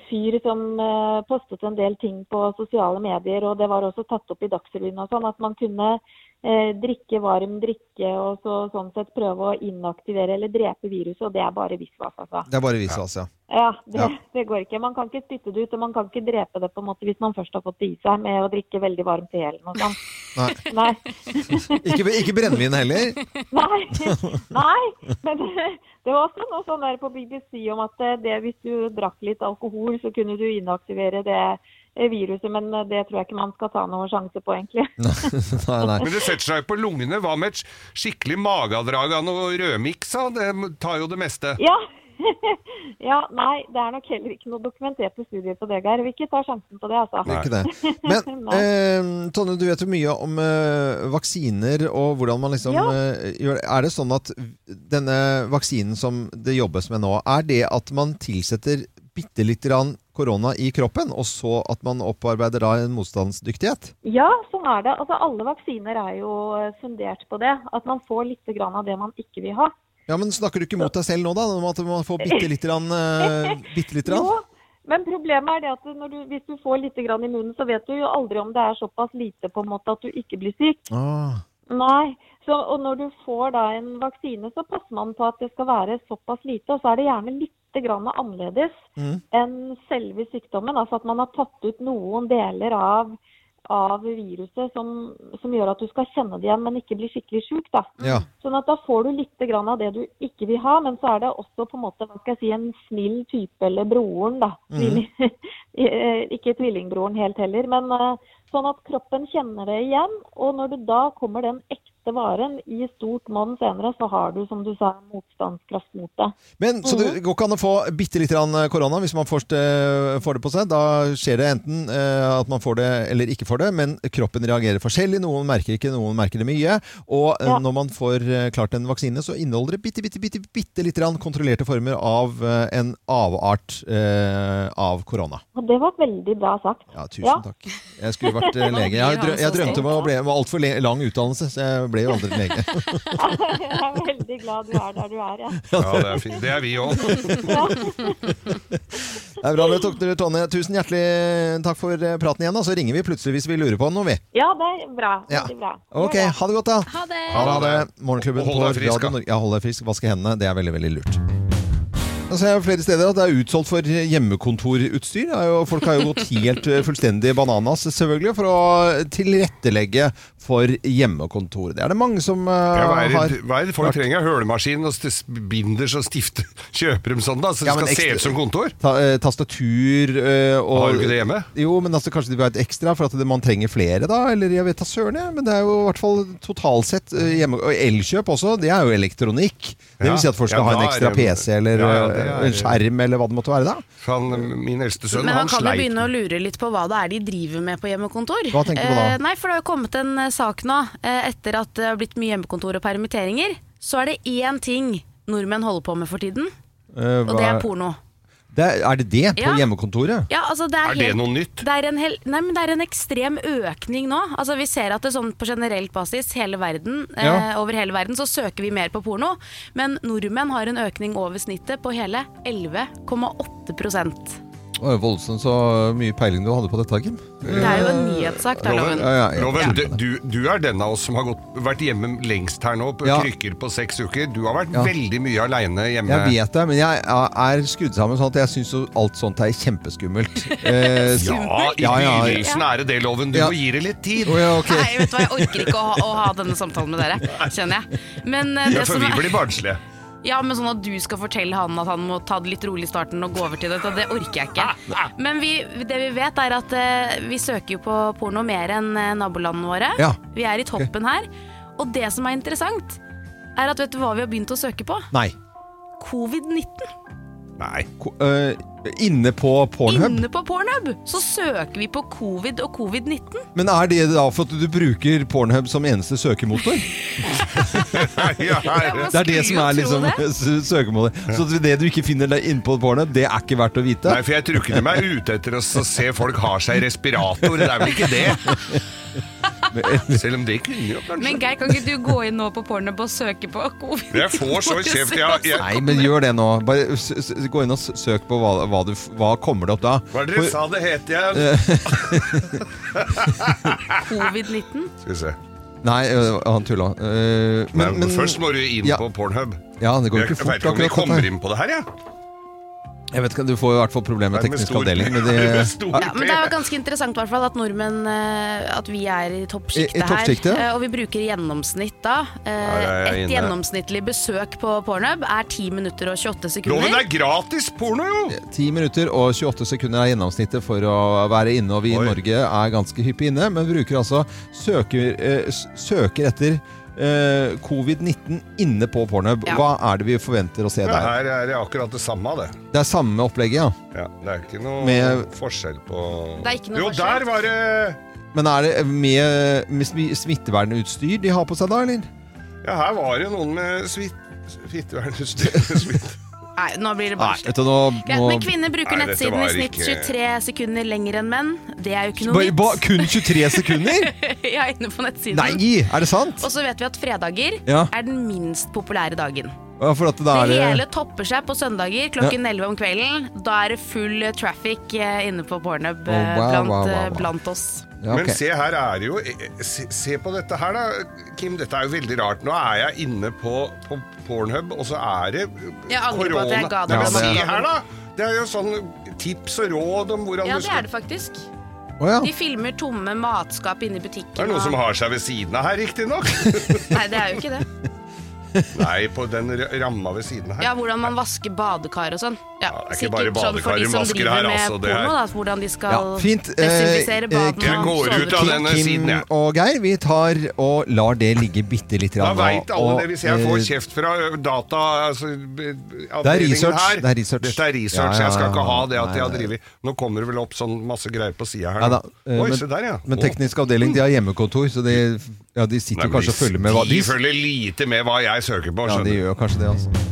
fyr som eh, postet en del ting på sosiale medier, og det var også tatt opp i Dagsrevyen og sånn, at man kunne eh, drikke varm drikke og så, sånn sett prøve å inaktivere eller drepe viruset, og det er bare visvas, altså. Det er bare visvas, ja. Ja, det, Ja. det går ikke. Man kan ikke spytte det ut, og man kan ikke drepe det på en måte hvis man først har fått det i seg med å drikke veldig varm te eller noe sånt. Nei. Nei. Ikke, ikke brennevin heller. Nei, nei, men det var også noe sånn der på BBC om at eh, det, hvis du drakk litt alkohol, så kunne du inaktivere det eh, viruset, men det tror jeg ikke man skal ta noen sjanse på, egentlig. Men det setter seg jo på lungene. Hva med et sk- skikkelig mageavdrag av noe rødmiks? da? Det tar jo det meste. Ja. ja, nei, det er nok heller ikke noe dokumenterte studier på det, Geir. Vi ikke tar sjansen på det, altså. Nei. Ikke det. Men eh, Tonje, du vet jo mye om eh, vaksiner og hvordan man liksom Ja. eh, gjør det. Er det sånn at denne vaksinen som det jobbes med nå, er det at man tilsetter bitte lite grann korona i kroppen, og så at man opparbeider da en motstandsdyktighet? Ja, sånn er det. Altså, alle vaksiner er jo eh, fundert på det. At man får litt grann av det man ikke vil ha. Ja, men snakker du ikke mot deg selv nå, da? Om at man får bitte lite grann? eh, bitte lite grann? Jo, men problemet er det at når du, hvis du får litt grann i munnen, så vet du jo aldri om det er såpass lite på en måte at du ikke blir syk. Ah. Nei, så, og når du får da en vaksine, så passer man på at det skal være såpass lite, og så er det gjerne litt grann annerledes Mm. enn selve sykdommen. Altså at man har tatt ut noen deler av, av viruset som, som gjør at du skal kjenne det igjen, men ikke bli skikkelig sjuk. da. Ja. Sånn at da får du litt grann av det du ikke vil ha, men så er det også på en måte, hva skal jeg si, en snill type, eller broren da. Mhm. Eh, Ikke tvillingbroren helt heller, men eh, sånn at kroppen kjenner det igjen. Og når det da kommer den ekte varen i stort monn senere, så har du, som du sa, motstandskraft mot det. Men så det går ikke an å få bitte litt korona hvis man først eh, får det på seg. Da skjer det enten eh, at man får det eller ikke får det, men kroppen reagerer forskjellig. Noen merker ikke, noen merker det mye. Og eh, Ja. når man får eh, klart en vaksine, så inneholder det bitte, bitte, bitte, bitte litt kontrollerte former av eh, en avart eh, av korona. Og det var veldig bra sagt. Ja, tusen takk. Jeg skulle vært eh, lege. Jeg, drø jeg drømte om å bli om altfor le- lang utdannelse, så jeg ble jo aldri lege. Jeg er veldig glad du er der du er, ja. Ja, det er fint. Det er vi òg. Det er bra dere tok dere, Tonje. Tusen hjertelig takk for eh, praten igjen. Da. Så ringer vi plutselig hvis vi lurer på noe, vi. Ja, det er bra. Ja. Veldig bra. Ok, ha det godt da. Ha det. Ha det. Morgenklubben Og hold på deg frisk, Radio da. Norge. Ja, hold deg frisk. Vaske hendene. Det er veldig, veldig lurt. Jeg ser jeg flere steder at det er utsolgt for hjemmekontorutstyr. Det er jo- Folk har jo gått helt eh, fullstendig bananas selvfølgelig for å tilrettelegge for hjemmekontor. Det er det mange som eh, Ja, hva, er har det, hva er det folk vært- trenger? Hølemaskin og stis- binders og stifter? Kjøper dem sånn, da? Så det Ja, men skal se ekstra- ut som kontor? Ta, eh, tastatur eh, og Har du ikke det hjemme? Jo, men altså, kanskje de vil ha et ekstra for at det- man trenger flere, da. Eller jeg vet da søren, jeg. Men det er jo i hvert fall totalt sett eh, hjemme. Og elkjøp også, det er jo elektronikk. Det Ja. vil si at folk skal Ja, ha en da ekstra er det- PC eller Ja, ja, det eh, er- en skjerm eller hva det måtte være da. Han, min eldste sønn, Men man han kan jo sleit. begynne å lure litt på hva det er de driver med på hjemmekontor. Hva tenker du da? Eh, nei, for det har jo kommet en eh, sak nå, eh, etter at det har blitt mye hjemmekontor og permitteringer, så er det én ting nordmenn holder på med for tiden, Eh, og det hva- er porno. Det er, er det det på Ja. hjemmekontoret? Ja, altså det er, Er det helt- noe nytt? Det er, en hel, nei, men det er en ekstrem økning nå. Altså Vi ser at det sånn på generelt basis hele verden, eh, Ja. over hele verden så søker vi mer på porno. Men nordmenn har en økning over snittet på hele 11,8 Å, voldsomt så mye peiling du hadde på dette, Kim. Det er jo en nyhetssak. Det er Loven, loven. Ja, ja, ja. Loven du, du, du er den av oss som har gått, vært hjemme lengst her nå, på Ja. krykker på seks uker. Du har vært Ja. veldig mye aleine hjemme. Jeg vet det, men jeg er skrudd sammen sånn at jeg syns jo alt sånt er kjempeskummelt. Eh, så- Ja, i Ja, ja. begynnelsen er det det, Loven. Du Ja. må gi det litt tid. Å, ja, ok. Nei, vet du hva, jeg orker ikke å ha, å ha denne samtalen med dere, kjenner jeg. Men, eh, Ja, det for som vi er- blir barnslige. Ja, men sånn at du skal fortelle han at han må ta det litt rolig i starten og gå over til dette, det orker jeg ikke. Men vi, det vi vet er at eh, vi søker jo på porno mer enn eh, nabolandene våre. Ja. Vi er i toppen her. Og det som er interessant, er at vet du hva vi har begynt å søke på? Nei. Covid-19. Nei. Ko- øh, inne på Pornhub? Inne på Pornhub så søker vi på covid og covid-19. Men er det da for at du bruker Pornhub som eneste søkemotor? Ja, man det er det som skulle jo er tro liksom det. s- søkemålet. Så det du ikke finner deg inne på Pornhub, det er ikke verdt å vite? Nei, for jeg tror ikke de er ute etter oss å se folk har seg i respirator. Det er vel ikke det? Selv om det kunne jo kanskje Men Geir, kan ikke du gå inn nå på Pornhub og søke på covid? Jeg får så kjeft, jeg- jeg- sånn. Nei, men gjør det nå. Bare s s gå inn og s- søk på hva, hva, du, f- hva kommer det opp da. Hva er det dere sa det het igjen? igjen? Covid-19? Skal vi se. Nei, ø, han tulla. Eh, Men, først må du inn ja. på Pornhub. Ja, det går ikke jeg fort vet ikke om vi akkurat kommer dette. inn på det her, jeg. Jeg vet ikke, Du får i hvert fall problemer med Det er med teknisk stor- avdeling. Men det, det er med stor- Ja, men det er jo ganske interessant i hvert fall at nordmenn eh, At vi er i I- toppsjiktet i toppsjiktet? her. eh, Og vi bruker gjennomsnitt da. Eh, Ja, jeg er Et inne. gjennomsnittlig besøk på Pornhub er 10 minutter og 28 sekunder. Loven er gratis porno, jo! 10 minutter og 28 sekunder er gjennomsnittet for å være inne, og vi i Norge er ganske hyppig inne, men bruker altså søker, eh, s- søker etter eh, covid-19 inne på Pornhub. Ja. Hva er det vi forventer å se Ja, der? her er det akkurat det samme, det. Det er samme opplegget, ja. Ja, det er ikke noe Med- forskjell på Det er ikke noe Jo, forskjell. der var det Men er det med, med smi- smittevernutstyr de har på seg da, eller? Ja, her var det noen med svitt... Fittevernutstyr. Svitt. Nei, nå blir det Nei, bare vet du, nå, Greit, nå men kvinner bruker Nei, dette nettsiden var i snitt ikke- 23 sekunder lenger enn menn. Det er jo ikke noe Bare- ba- vits. Kun 23 sekunder? Jeg er inne på nettsiden. Nei, er det sant? Og så vet vi at fredager Ja. er den minst populære dagen. Ja, for at da er det det- hele topper seg på søndager klokken 11 om kvelden. Da er det full eh, traffic eh, inne på Pornhub eh, Oh, wow, blant, wow, wow, eh, wow. blant oss. Men se her er det jo eh, se, se på dette her, da, Kim. Dette er jo veldig rart. Nå er jeg inne på, på Pornhub, og så er det Jeg angrer på at jeg ga deg Nei, den men se oppgaven. her, da! Det er jo sånn tips og råd om hvordan Ja, du det skal er det faktisk. Å, ja. De filmer tomme matskap inne i butikken. Det er noen og- som har seg ved siden av her, riktignok. Nei, det er jo ikke det. Nei, på den ra- ramma ved siden her. Ja, hvordan man vasker badekar og sånn. Ja, det er ikke sikkert bare sånn for badekar de de som vasker driver her, med altså, det porno, da, her. hvordan de skal Ja, fint. Eh, desinfisere eh, badene. Jeg går og ut av soverommet. denne Kim siden, jeg. og Geir, vi tar og lar det ligge bitte litt. Da grann, veit alle og- det, hvis jeg får eh, kjeft fra ø, data altså, b- Det er avdelingen research, Her. det er research. Dette er research, Ja, ja, jeg skal ja, ikke ha det at nei, jeg har nei. drevet Nå kommer det vel opp sånn masse greier på sida her. Nei da, eh, Oi, men, se der, ja. men Å. teknisk avdeling de har hjemmekontor, så de, ja, de Nei, sitter men kanskje og følger med. Hva, de følger lite med hva jeg søker ja, på, de skjønner du. gjør kanskje det, altså.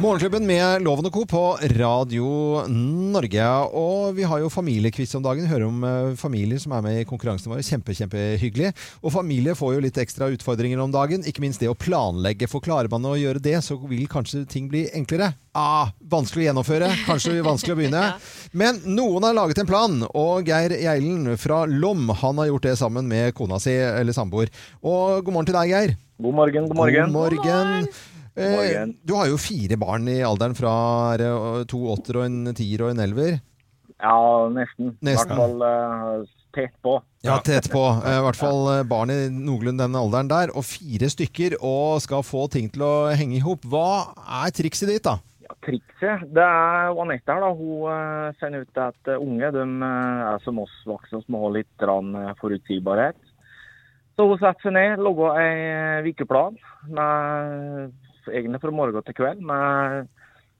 Morgenklubben med Loven og Co. på Radio Norge. Og vi har jo familiequiz om dagen. Hører om eh, familier som er med i konkurransen vår. Kjempe, kjempehyggelig. Og familie får jo litt ekstra utfordringer om dagen. Ikke minst det å planlegge. For klarer man å gjøre det, så vil kanskje ting bli enklere. Ah, vanskelig å gjennomføre. Kanskje vanskelig å begynne. Men noen har laget en plan, og Geir Geilen fra Lom han har gjort det sammen med kona si, eller samboer. Og god morgen til deg, Geir. God morgen, god morgen. God morgen. Eh, morgen. Du har jo fire barn i alderen fra er det, eh, to åtter og en tier og en elver. Ja, nesten. I Nesten. hvert fall eh, tett på. Ja, tett på. Eh, I hvert fall eh, barn i noenlunde den alderen der. Og fire stykker, og skal få ting til å henge i hop. Hva er trikset ditt, da? Trikset det er jo Anette her, da. Hun eh, finner ut at eh, unge de eh, er som oss voksne, som har litt grann, eh, forutsigbarhet. Så hun setter seg ned, lager en ukeplan med egentlig fra morgen til kveld. med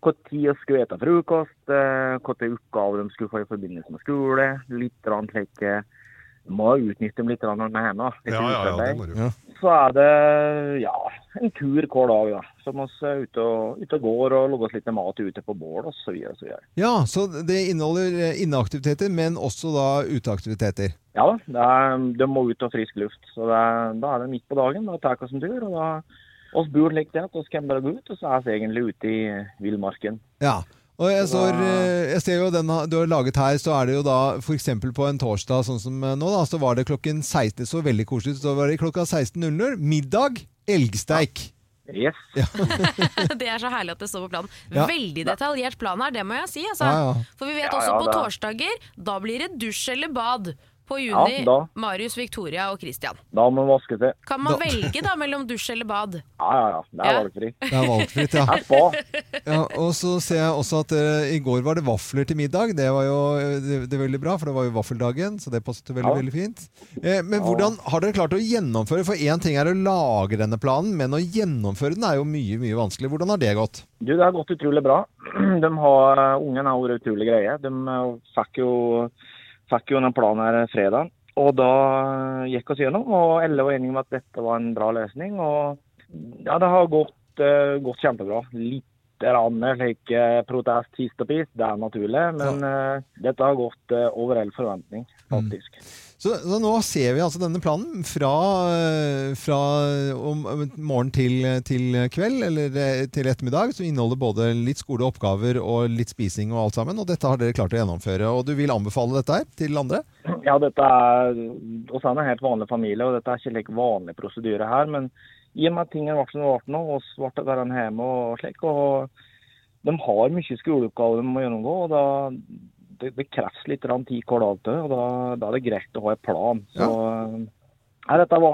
hva tid vi skulle spise frokost, eh, hva til oppgaver de skulle få i forbindelse med skole. Litt grann slik eh, Må utnytte dem litt grann når de er hjemme. da. Litt Ja, ja, ja, det utearbeid. må du. Så er det ja, en tur hver dag, da. Som oss er ute og, ute og går og lager oss litt mat ute på bål og så videre. og Så videre. Ja, så det inneholder eh, inneaktiviteter, men også da uteaktiviteter. Ja da, det er, de må ut og frisk luft. Så det er, da er det midt på dagen. Da tar vi oss en tur. og da oss bor slik det at oss kan bare gå ut, og så er vi egentlig ute i villmarken. Ja. Og jeg, står, eh, jeg ser jo den ha- du har laget her, så er det jo da f.eks. på en torsdag sånn som eh, nå, da, så var det klokken 16. Det så veldig koselig ut. Så var det klokka 16.00. Middag elgsteik. Yes. det er så herlig at det står på planen. Ja. Veldig detaljert plan her, det må jeg si. Altså. Ja, ja. For vi vet Ja, også ja, på det er- torsdager, da blir det dusj eller bad. På Juni, Ja, da. Marius, Victoria og Christian. Da må vi vaske til. Kan man velge da mellom dusj eller bad? Ja, ja, ja. Det er Ja. valgfri. Det er valgfritt, ja. Det er spa. ja. Og så ser jeg også at eh, i går var det vafler til middag. Det var jo eh, det, det er veldig bra, for det var jo vaffeldagen, så det passet jo veldig, Ja. veldig fint. Eh, men hvordan har dere klart å gjennomføre? For én ting er å lage denne planen, men å gjennomføre den er jo mye, mye vanskelig. Hvordan har det gått? Du, det har gått utrolig bra. De har, eh, ungen har vært utrolig greie. De eh, fikk jo, fikk jo denne planen her eh, fredag. Og da eh, gikk oss gjennom, og alle var enige om at dette var en bra løsning. Og ja, det har gått, eh, gått kjempebra. Litt grann slik eh, protest hist og pist, det er naturlig. Men eh, dette har gått eh, over all forventning. Så, så nå ser vi altså denne planen fra, eh, fra om om morgen til, til kveld, eller eh, til ettermiddag, som inneholder både litt skoleoppgaver og litt spising og alt sammen. Og dette har dere klart å gjennomføre. Og du vil anbefale dette her til andre? Ja, dette er oss er en helt vanlig familie, og dette er ikke like vanlig prosedyre her. Men i og med at tingene ble som de ble nå, og så ble det der han hjemme og slik, og de har mye skoleoppgaver de må gjennomgå, og da det, det kreves litt grann tid hver dag til det, og da, da er det greit å ha en plan. Så eh, nei, dette ble,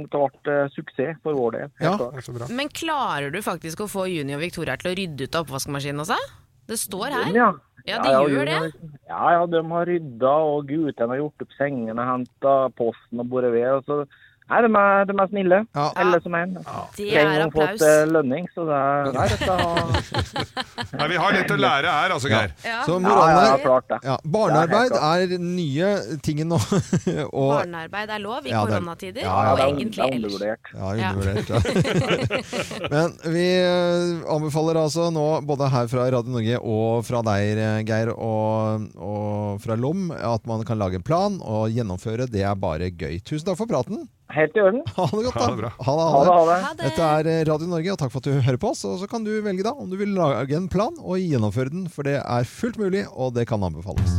dette ble suksess for vår del. helt klart. Men klarer du faktisk å få Juni og Victoria til å rydde ut av oppvaskmaskinen også? Det står her. Juni, ja. Ja, det og gjør det. Juni har- Ja, ja, de har rydda, og guttene har gjort opp sengene, henta posten og båret ved. og så... Nei, de er, de er snille. Alle som en. Det Tre er ganger applaus. fått eh, lønning, så det er Nei, dette har Nei, vi har litt å lære her, altså, Geir. Så moralen Ja, ja, er- klart det. ja, barnearbeid Det er er den nye tingen nå. og, Barnearbeid er lov i Ja, det er- koronatider, Ja, ja, og det er- egentlig det er ellers. Ja, undervurdert. Ja. Men vi eh, anbefaler altså nå, både her fra Radio Norge og fra deg, eh, Geir, og, og fra LOM, at man kan lage en plan og gjennomføre. Det er bare gøy. Tusen takk for praten. Helt i orden. Ha det godt, da. Ha det bra. ha det, Ha det, ha det. Dette er eh, Radio Norge, og takk for at du hører på oss. Og så kan du velge da om du vil lage en plan og gjennomføre den, for det er fullt mulig, og det kan anbefales.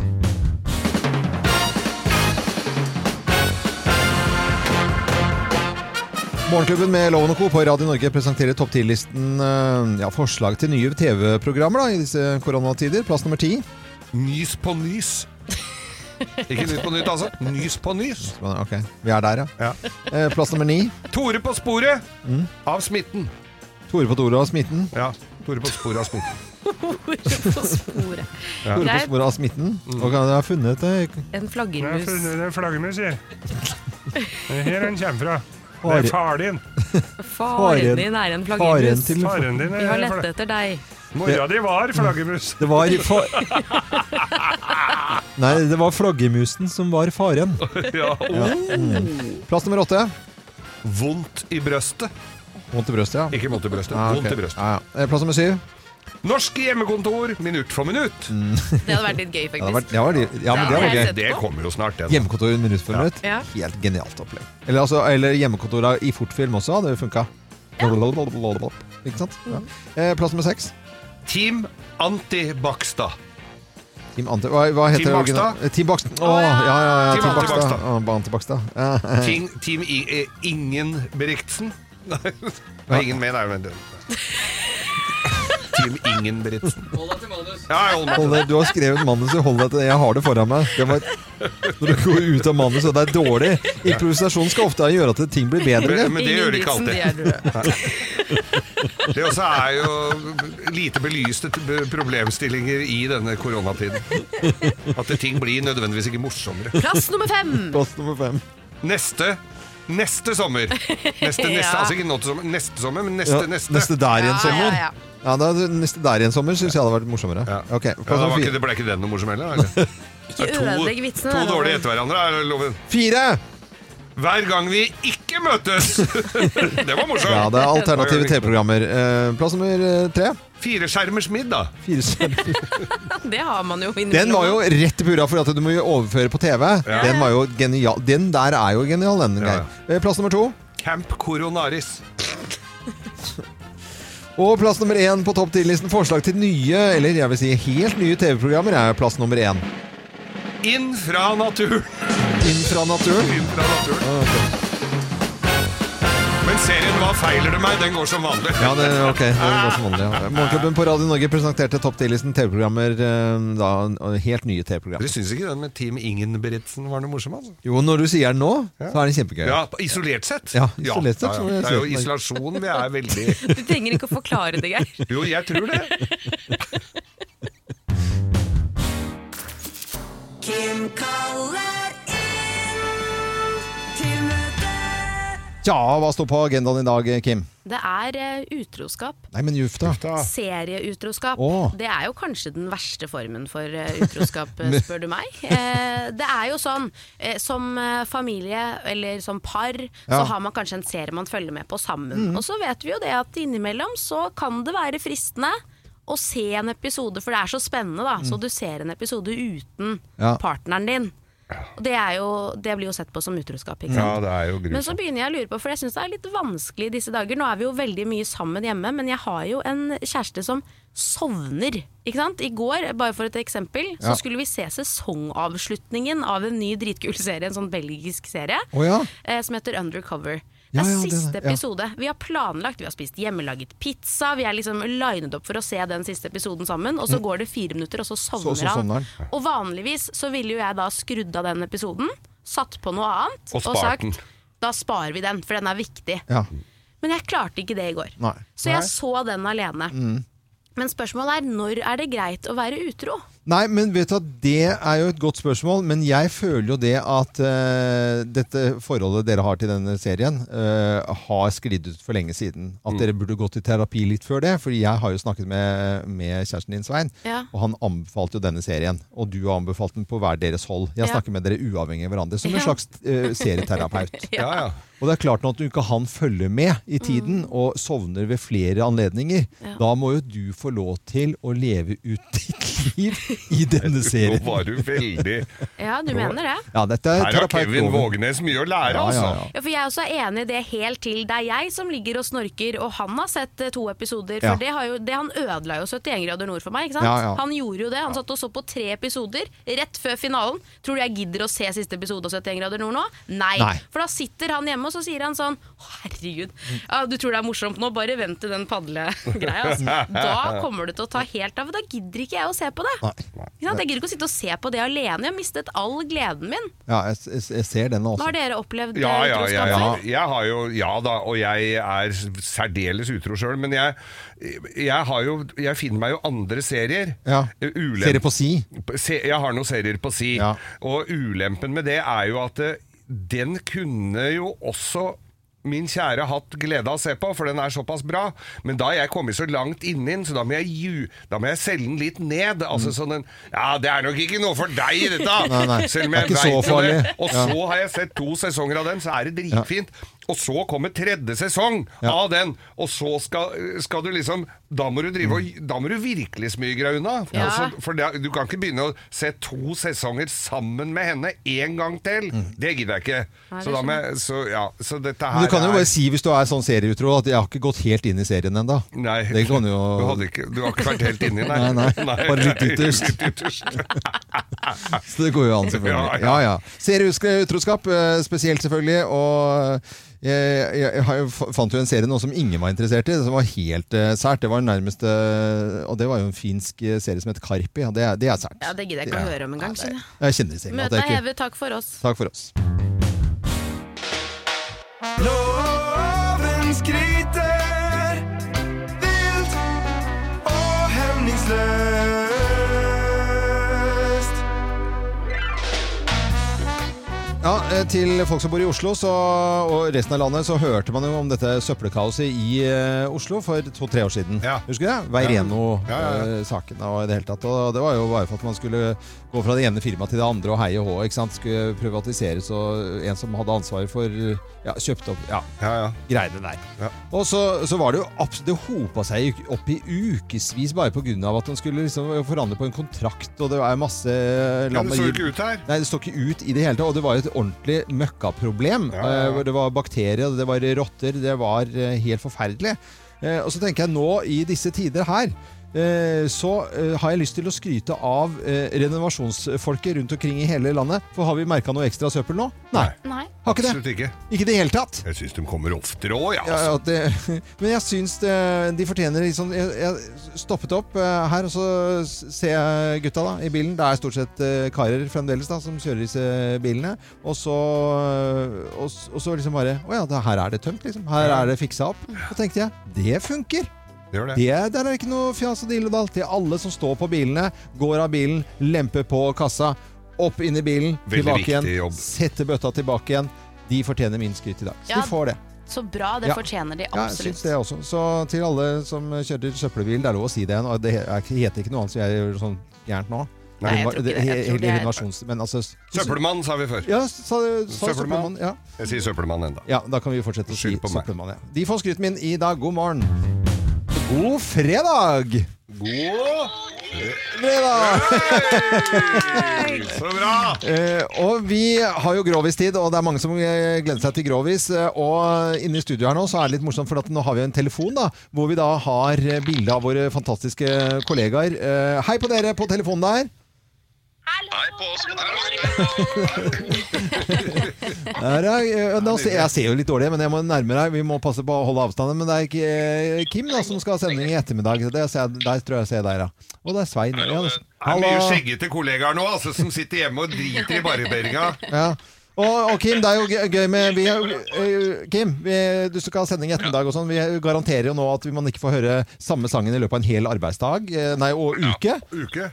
Morgenklubben med Loven og Co. på Radio Norge presenterer topp 10-listen eh, ja, forslag til nye TV-programmer da, i disse koronatider. Plass nummer ti. Nys på nys. Ikke Nytt på Nytt, altså. Nys på nys. Ok, vi er der, ja. Eh, Plass nummer ni. Tore på sporet Mm. av smitten. Tore på Tore og smitten. Ja. Tore på sporet av smitten. På sporet. Tore på Greit. sporet av smitten. Og kan jeg ha funnet eh, det? En flaggermus. Det er flaggermus, sier Det er her han kommer fra. Det er far din. Faren din er en flaggermus. faren til- Faren din er- Vi har lett etter deg. Mora di var flaggermus. Det var fa- Nei, det var flaggermusen som var faren. Ja. Mm. Plass nummer åtte. Vondt i brøstet. Vondt i brøstet, ja. Ikke vondt i brøstet. Ah, ok. Vondt i brøstet. Ja, ja. Eh, Plass nummer syv. Norske hjemmekontor minutt for minutt. Det hadde vært litt gøy, Ja, det faktisk. var, det var, ja, men det var gøy. Det kommer jo snart, det. Hjemmekontor i minutt for minutt. Ja. Helt genialt opplegg. Eller, altså, eller hjemmekontor i fortfilm også hadde funka. Ikke sant? Ja. Eh, Plass nummer seks. Team Anti-Bakstad. Team Ante... Hva, hva heter Team det original- Bakstad? Eh, Team Bakstad. Å, ja, ja, ja. Team Team Ante Bakstad. Bakstad. Å, bare Ante Bakstad. Ja. Team, team I, eh, Ingen Beriksen. Nei, Nei, ingen med, nei, men det- Team Ingen Beriksen. Hold deg til manus. Ja, jeg holder meg til Hold deg- du har skrevet manuset, hold deg til det. Jeg har det foran meg. Det var, når du går ut av manuset, og det er dårlig. Improvisasjon skal ofte gjøre at ting blir bedre. Men, men det Ingen gjør det ikke vitsen, alltid. det er du. Det også er jo lite belyste t- b- problemstillinger i denne koronatiden. At det- ting blir nødvendigvis ikke morsommere. Plass nummer fem. Plass nummer fem. Neste Neste sommer. Neste, neste, Ja. Altså ikke nå til sommer, neste sommer, men neste, Ja, neste. neste der igjen sommer. Ja, ja, ja. Ja, da, neste der igjen sommer syns jeg hadde vært morsommere. Ok, Ja, plass det, var nummer ikke, fire. det ble ikke den noe morsom heller? eller? Ikke Det er to- ødelegg vitsene. To da, dårlige Loven. etter hverandre er loven. Fire! Hver gang vi ikke møtes! det var morsomt. Ja, det er alternative TV-programmer. Eh, Plass nummer eh, tre. Fireskjermers middag. Det har man jo Den var jo rett i pura for at du må jo overføre på TV. Ja. Den var jo genial. Den der er jo genial, den. Geir. Eh, Plass nummer to. Camp Coronaris. Og plass nummer én på topp 10-listen forslag til nye, eller jeg vil si helt nye TV-programmer, er plass nummer én. Inn fra naturen. Inn fra naturen? Inn fra naturen. Ah, Men serien Hva feiler det meg? Den går som vanlig. Ja, det, ok, det går som vanlig. Ja. Morgenklubben på Radio Norge presenterte topp 10-listen TV-programmer, eh, da og helt nye Dere TV-programmer. syns ikke den med Team Ingenbretsen var noe morsom? altså? Jo, når du sier den nå, så er den kjempegøy. Ja, isolert sett. Ja, isolert sett, Ja, så ja, må jeg Det er jo si. isolasjon vi er veldig Du trenger ikke å forklare det, Geir. Jo, jeg tror det. Kim kaller inn til møte. Tja, hva står på agendaen i dag, Kim? Det er eh, utroskap. Nei, men juff da. Serieutroskap. Åh. Det er jo kanskje den verste formen for eh, utroskap, eh, spør du meg. Eh, det er jo sånn, eh, som eh, familie eller som par, så Ja. har man kanskje en serie man følger med på sammen. Mm. Og så vet vi jo det at innimellom så kan det være fristende å se en episode, for det er så spennende, da. Så Mm. du ser en episode uten Ja. partneren din. Og det, er jo, det blir jo sett på som utroskap. Ikke Ja, sant? det er jo grusomt. men så begynner jeg å lure på, for jeg syns det er litt vanskelig i disse dager. Nå er vi jo veldig mye sammen hjemme, men jeg har jo en kjæreste som sovner. Ikke sant? I går, bare for et eksempel, Ja. så skulle vi se sesongavslutningen av en ny dritkul serie, en sånn belgisk serie, Å ja. eh, som heter Undercover. Det Ja, er ja, det er siste det, ja. episode. Vi har planlagt, vi har spist hjemmelaget pizza, vi er liksom linet opp for å se den siste episoden sammen, og så Mm. går det fire minutter, og så Så- sovner så han. sovner han. Og vanligvis så ville jo jeg da skrudd av den episoden, satt på noe annet Og spart den. da sparer vi den, for den er viktig. Ja. Men jeg klarte ikke det i går. Nei. Så jeg så den alene. Mm. Men spørsmålet er når er det greit å være utro? Nei, men vet du at det er jo et godt spørsmål, men jeg føler jo det at eh, dette forholdet dere har til denne serien, eh, har sklidd ut for lenge siden. At dere burde gått i terapi litt før det, fordi jeg har jo snakket med, med kjæresten din, Svein, Ja. og han anbefalte jo denne serien, og du har anbefalt den på hver deres hold. Jeg Ja. snakker med dere uavhengig av hverandre, som en Ja. slags eh, serieterapeut. Ja. Ja, ja. Og det er klart nå at du ikke han følger med i tiden, og sovner ved flere anledninger. Ja. Da må jo du få lov til å leve ut ditt liv i denne serien. Nå var du veldig Ja, du mener det? Ja, dette er Her har terapeut Kevin Loven. Vågenes mye å lære, Ja, ja, altså. Ja, for Jeg er også enig i det helt til det er jeg som ligger og snorker, og han har sett eh, to episoder. For Ja. det har jo, det, Han ødela jo 71 grader nord for meg. ikke sant? Ja, ja. Han gjorde jo det. Han satt og så på tre episoder rett før finalen. Tror du jeg gidder å se siste episode av 71 grader nord nå? Nei. Nei. For da sitter han hjemme og så sier han sånn Å, herregud, ja, du tror det er morsomt nå, bare vent til den padlegreia. Altså. Da kommer det til å ta helt av. og Da gidder ikke jeg å se på det. Ikke sant? Jeg gidder ikke å sitte og se på det alene. Jeg har mistet all gleden min. Ja, jeg, jeg, jeg ser den også. Har dere opplevd Ja, eh, ja, utroskap ja, Jeg, ja. før? jeg har jo, ja da, og jeg er særdeles utro sjøl, men jeg, jeg, har jo, jeg finner meg jo andre serier. Ja. Ulem- Serier på si. Se, jeg har noen serier på si, og ulempen med det er jo at eh, den kunne jo også min kjære hatt glede av å se på, for den er såpass bra. Men da er jeg kommet så langt inni den, så da må jeg, ju, da må jeg selge den litt ned. Altså sånn en Ja, det er nok ikke noe for deg, dette! Mm. Nei, nei. Selv om Det er jeg ikke så vet jo det. farlig. Og Ja. så har jeg sett to sesonger av den, så er det dritfint. Og så kommer tredje sesong av den, og så skal, skal du liksom Da må du drive og Mm. Da må du virkelig smyge deg unna. Ja. Og så- for det, du kan ikke begynne å se to sesonger sammen med henne en gang til. Det gidder jeg ikke. Nei, det så, da må jeg, så, ja, så dette her Mm. Men du kan jo er bare si, hvis du er sånn serieutro, at jeg har ikke gått helt inn i serien ennå. Nei, Det kan du jo du, hadde ikke, du har ikke vært helt inni, Nei, nei. Bare litt ytterst. Litt ytterst. Så det går jo an, selvfølgelig. Ja, ja. Serieutroskap eh, spesielt, selvfølgelig. Og eh, jeg, jeg har jo, f- fant jo en serie nå som ingen var interessert i, som var helt eh, sært. Det var nærmest eh, Og det var jo en finsk eh, serie som het Karpi. Ja, det, er- det er sært. Ja, det gidder jeg ikke å høre om engang. skjønner jeg. Jeg kjenner i senga at Møtet jeg er ikke hevet, takk for oss. Takk for oss. Loven skryter vilt og hemningsløst. Ja, eh, Til folk som bor i Oslo så, og resten av landet, så hørte man jo om dette søppelkaoset i eh, Oslo for to-tre år siden. Husker du det? Ja, ja, Veireno-saken og i det hele tatt. Og det var jo bare for at man skulle gå fra det ene firmaet til det andre og heie hå. ikke sant? Skulle privatiseres, og en som hadde ansvaret for ja, kjøpte opp ja, greiene der. Og så, så var det jo absolutt Det hopa seg jo opp i ukevis bare pga. at man skulle liksom forhandle på en kontrakt, og det er masse land det med så jo gild- ikke ut her. Nei, det står ikke ut i det hele tatt. Og det var jo et ordentlig møkkaproblem. eh, hvor Det var bakterier, det var rotter, det var eh, helt forferdelig. Eh, Og så tenker jeg nå, i disse tider her, eh, så eh, har jeg lyst til å skryte av eh, renovasjonsfolket rundt omkring i hele landet. For har vi merka noe ekstra søppel nå? Nei. Nei. Har ikke det. Absolutt ikke. Ikke i det hele tatt. Jeg syns de kommer oftere òg, ja, Ja, altså. ja, det, men jeg syns det, de fortjener liksom jeg, jeg stoppet opp eh, her, og så s- ser jeg gutta da i bilen. Det er stort sett eh, karer fremdeles da som kjører disse bilene. Og så, eh, og, s- og så liksom bare Å ja, det, her er det tømt, liksom. Her er det fiksa opp. Så tenkte jeg det funker. Det gjør det. Det, der er ikke noe fjas og dill og dall. Til alle som står på bilene, går av bilen, lemper på kassa, opp inn i bilen, Veldig tilbake igjen, viktig jobb. setter bøtta tilbake igjen. De fortjener min skryt i dag. Så Ja, de får det. Så bra, det Ja. fortjener de Ja, jeg syns absolutt. det også. Så til alle som kjører søppelbil, det er lov å si det. og Det er- heter ikke noe annet som jeg gjør sånn gærent nå. Nei, jeg tror ikke det. Jeg tror det er- Renovasjons- Men altså Søppelmann, sa vi før. Ja, sa, sa Sånn søppelmann. Ja. Jeg sier søppelmann ennå. ja, da kan vi fortsette å si Skyld på meg. søppelmann. Ja. De får skryten min i dag. God morgen. God fredag! God Fredag! Så bra! Eh, og vi har jo grovistid, og det er mange som eh, gleder seg til grovis. Eh, Og inne i studio her nå så er det litt morsomt, for at nå har vi en telefon da, hvor vi da har eh, bilde av våre fantastiske kollegaer. Eh, Hei på dere på telefonen der. Der er, eh, nå, ser- jeg ser jo litt dårlig, men jeg må nærme deg. Vi må passe på å holde avstanden. Men det er ikke eh, Kim da, som skal ha sending i ettermiddag. Det ser, jeg- der tror jeg jeg ser deg, ja. Og det er Svein. Ja, det- Det er mye skjeggete kollegaer nå altså, som sitter hjemme og driter i barberinga. Ja. Og, og Kim, det er jo gøy- gøy med vi, er jo- eh, Kim, vi, du skal ha sending i ettermiddag og sånn. Vi garanterer jo nå at man ikke får høre samme sangen i løpet av en hel arbeidsdag. eh, Nei, og uke. Uke.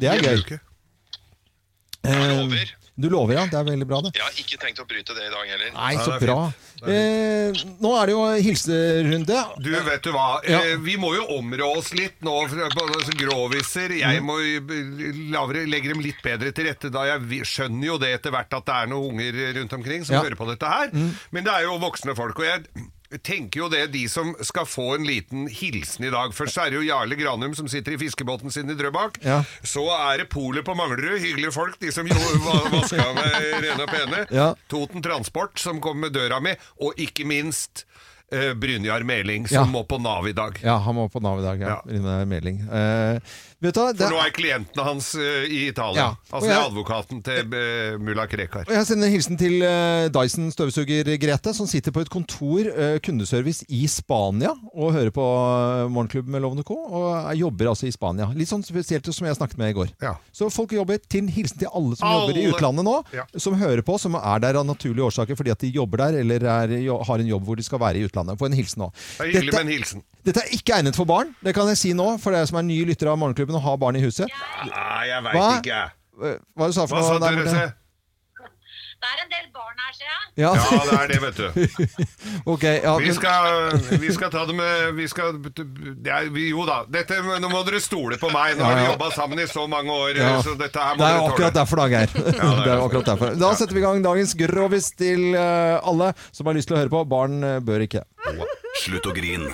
Det er Hele gøy. Eh, Du lover, ja. Det er veldig bra, det. Jeg har ikke tenkt å bryte det i dag heller. Nei, så bra. Eh, nå er det jo hilserunde. Du, vet du hva? Ja. Eh, Vi må jo områ oss litt nå, for- på altså, groviser. Mm. Jeg må jo b- lavere- legge dem litt bedre til rette, da jeg vi- skjønner jo det etter hvert at det er noen unger rundt omkring som Ja. hører på dette her. Mm. Men det er jo voksne folk, og jeg tenker jo det de som skal få en liten hilsen i dag. Først så er det jo Jarle Granum som sitter i fiskebåten sin i Drøbak. Ja. Så er det Polet på Manglerud, hyggelige folk, de som jo va- vaska med rene og pene. Ja. Toten Transport som kom med døra mi, og ikke minst eh, Brynjar Meling Ja. som må på Nav i dag. Ja, han må på Nav i dag. Ja. Rune Meling. Eh, vet du hva? For Det, nå er klientene hans eh, i Italia. Ja. Og Altså det er jeg- advokaten til eh, mulla Krekar. Og Jeg sender en hilsen til eh, Dyson støvsuger Grete, som sitter på et kontor, eh, kundeservice, i Spania og hører på eh, Morgenklubben med Lovende Co. Og eh, jobber altså i Spania. Litt sånn spesielt som jeg snakket med i går. Så folk jobber til hilsen til alle som Alle. jobber i utlandet nå, Ja. som hører på, som er der av naturlige årsaker fordi at de jobber der eller er, jo, har en jobb hvor de skal være i utlandet. Få en hilsen nå. Det er hyggelig Dette- med en hilsen. Dette er ikke egnet for barn, det kan jeg si nå, for dere som er nye lyttere av Morgenklubben og har barn i huset. Nei, jeg veit Hva? ikke. Eh, Hva du sa for Hva sa noe der dere, borte? se? Ja. Ja, det er det, vet du. Ok, Altså- ja, vi, men- skal, vi skal ta det med vi skal, det er, vi, Jo da, dette, nå må dere stole på meg. Nå har vi Ja, ja. jobba sammen i så mange år, Ja. så dette her må det er jo dere tåle. akkurat derfor, da, Geir. Ja, det er det er jo akkurat derfor. Da setter vi i gang dagens grovis til eh, alle som har lyst til å høre på. Barn eh, bør ikke. Slutt å grin.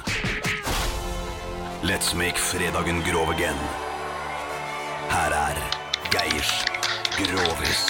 Let's make fredagen grov again. Her er Geirs Grovis.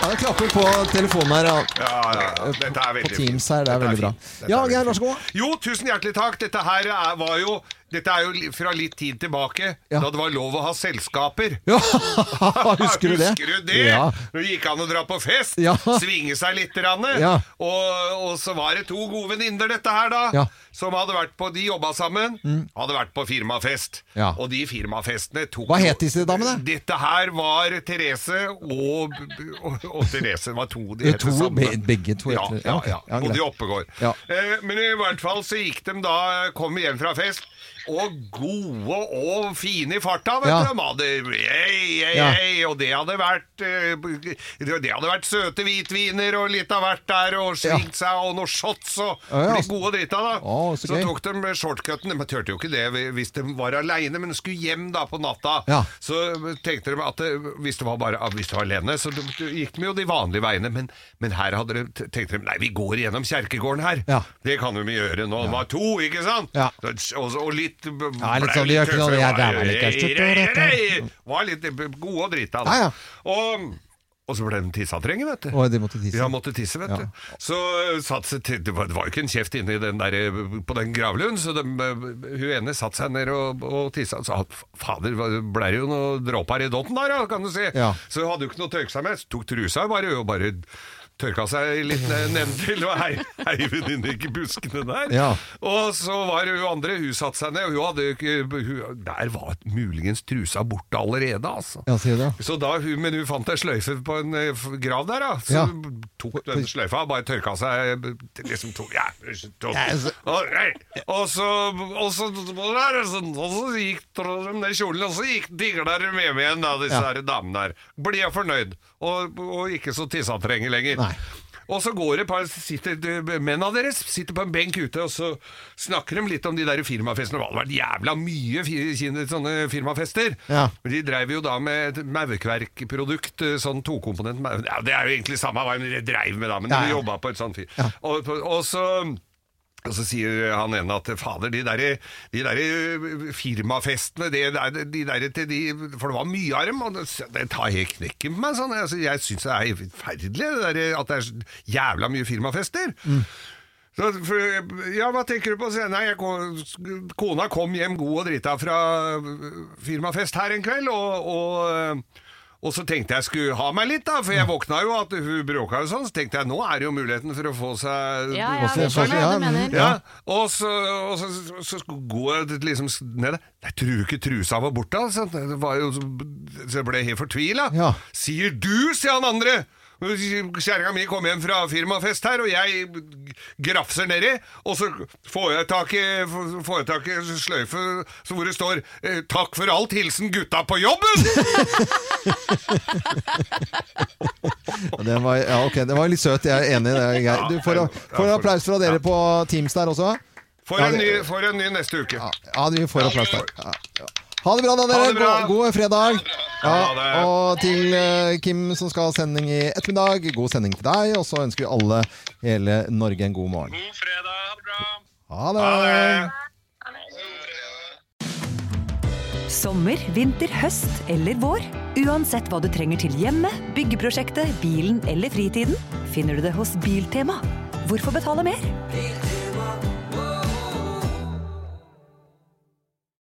Ja, det klapper på telefonen her. Ja. ja. Dette er Eh, veldig på Teams her, det er veldig bra. Dette Ja, er Geir, veldig vær så god. fint. Jo, tusen hjertelig takk. Dette her er, var jo Dette er jo li- fra litt tid tilbake, da det var lov å ha selskaper. Husker du det? Husker du det? Ja. Når det gikk an å dra på fest, Ja. svinge seg litt. Rann, Ja. og, og så var det to gode venninner, dette her, da. Ja. Som hadde vært på De jobba sammen. Mm. Hadde vært på firmafest. Ja. Og de firmafestene tok Hva jo- het disse damene? Dette her var Therese og, og, og Therese. Det var to de Det er het to, sammen. be, begge to. Ja, heter det. ja, ok. ja. Og greit. de oppegård. Ja. Eh, men i hvert fall så gikk de da Kom hjem fra fest. Og gode og fine i farta, vet Ja. du. De hadde ei, ei, Ja. ei, Og det hadde vært eh, Det hadde vært søte hvitviner og litt av hvert der, og svingt seg, og noen shots og Ja, ja. blitt gode og drita, da. Å, så så gøy. tok de shortcuten. De turte jo ikke det hvis de var aleine, men skulle hjem da på natta. Ja. Så tenkte de at det, hvis det var, bare, ah, hvis det var alene, så de, de gikk de jo de vanlige veiene. Men, men her hadde de, t- tenkte de nei, vi går gjennom kjerkegården her. Ja. Det kan vi gjøre nå. Det var to, ikke sant? Ja. Så- Og, og litt Ja, litt sånn, de gjør ikke noe, ja, det er vel ikke stort, det, dette. Var litt gode og drita. Ja, ja. Og, og så ble de tissetrenge, vet du. Å, de måtte tisse. Ja, måtte tisse, vet Ja. du. Så eh, satt seg til, det var det var jo ikke en kjeft inne i den der, eh, på den gravlund, så de, eh, hun ene satt seg ned og, og tissa. og sa, fader, hva- ble det jo noen dråper i dotten der, ja, kan du si. Ja. Så hun hadde jo ikke noe å tørke seg med, så tok trusa bare, og bare tørka seg litt ned nedtil, og hei, hei venninne, ikke buskene der. Ja. Og så var det hun andre, hun satt seg ned, og hun hadde jo ikke, hun, der var muligens trusa borte allerede, altså. Ja, sier du det? Så da, hun- men hun fant ei sløyfe på en eh, f- grav der, da. Så Ja. tok den sløyfa og bare tørka seg eh, til liksom to, ja, to, Ja, altså- og, nei, og så Og så, og så, og så gikk de ned kjolen, og så gikk digla de med meg igjen, da, disse Ja. her damene her. Blir jeg fornøyd, og, og ikke så tissetrenge lenger. Nei. Og så går det par, sitter, de- Mennene deres sitter på en benk ute, og så snakker de litt om de der firmafestene. Det har vært jævla mye fi- kine- sånne firmafester. Ja. Men De dreiv jo da med et maurkverkprodukt, eh, sånn tokomponent maur. Ja, det er jo egentlig samme hva de dreiv med, da, men Ja, de ja. jobba på et sånt fyr. Og, og så Og så sier han ene at fader, de der, de der firmafestene, de der, de der til de For det var mye av dem, og det, det tar helt knekken på meg. Sånn. Altså, jeg syns det er forferdelig det der, at det er så jævla mye firmafester. Så, for, ja, hva tenker du på? Så, jeg, nei, jeg, kom- kona kom hjem god og drita fra eh, firmafest her en kveld, og, og og så tenkte jeg skulle ha meg litt, da, for Mm. jeg våkna jo at hun bråka jo sånn. Så tenkte jeg nå er det jo muligheten for å få seg Ja, ja, vi skjønner mm. hva du mener. ja. Og så, og så, så, går jeg liksom ned der. Jeg tror jo ikke trusa var borte, altså. Det var jo, så- så jeg ble helt fortvila. Sier du, sier han andre! Kjerringa mi kom hjem fra firmafest her, og jeg grafser nedi, og så får jeg tak i, får jeg tak i sløyfe så hvor det står eh, 'Takk for alt, hilsen gutta på jobben'! Ja, Den var, ja, ok, den var litt søt. Jeg er enig. i det, Geir. Du får, får en applaus fra dere på Teams der også. Får en, ny, får en ny neste uke. Ja, vi får applaus der. Ja, ja. Ha det bra, da, dere. Ha det bra. God, god fredag. det. Ja, og til eh, Kim som skal ha sending i ettermiddag, god sending til deg. Og så ønsker vi alle hele Norge en god morgen. God fredag. Ha det bra. Ha det. Sommer, vinter, høst eller vår. Uansett hva du trenger til hjemmet, byggeprosjektet, bilen eller fritiden, finner du det hos Biltema. Hvorfor betale mer? Biltema.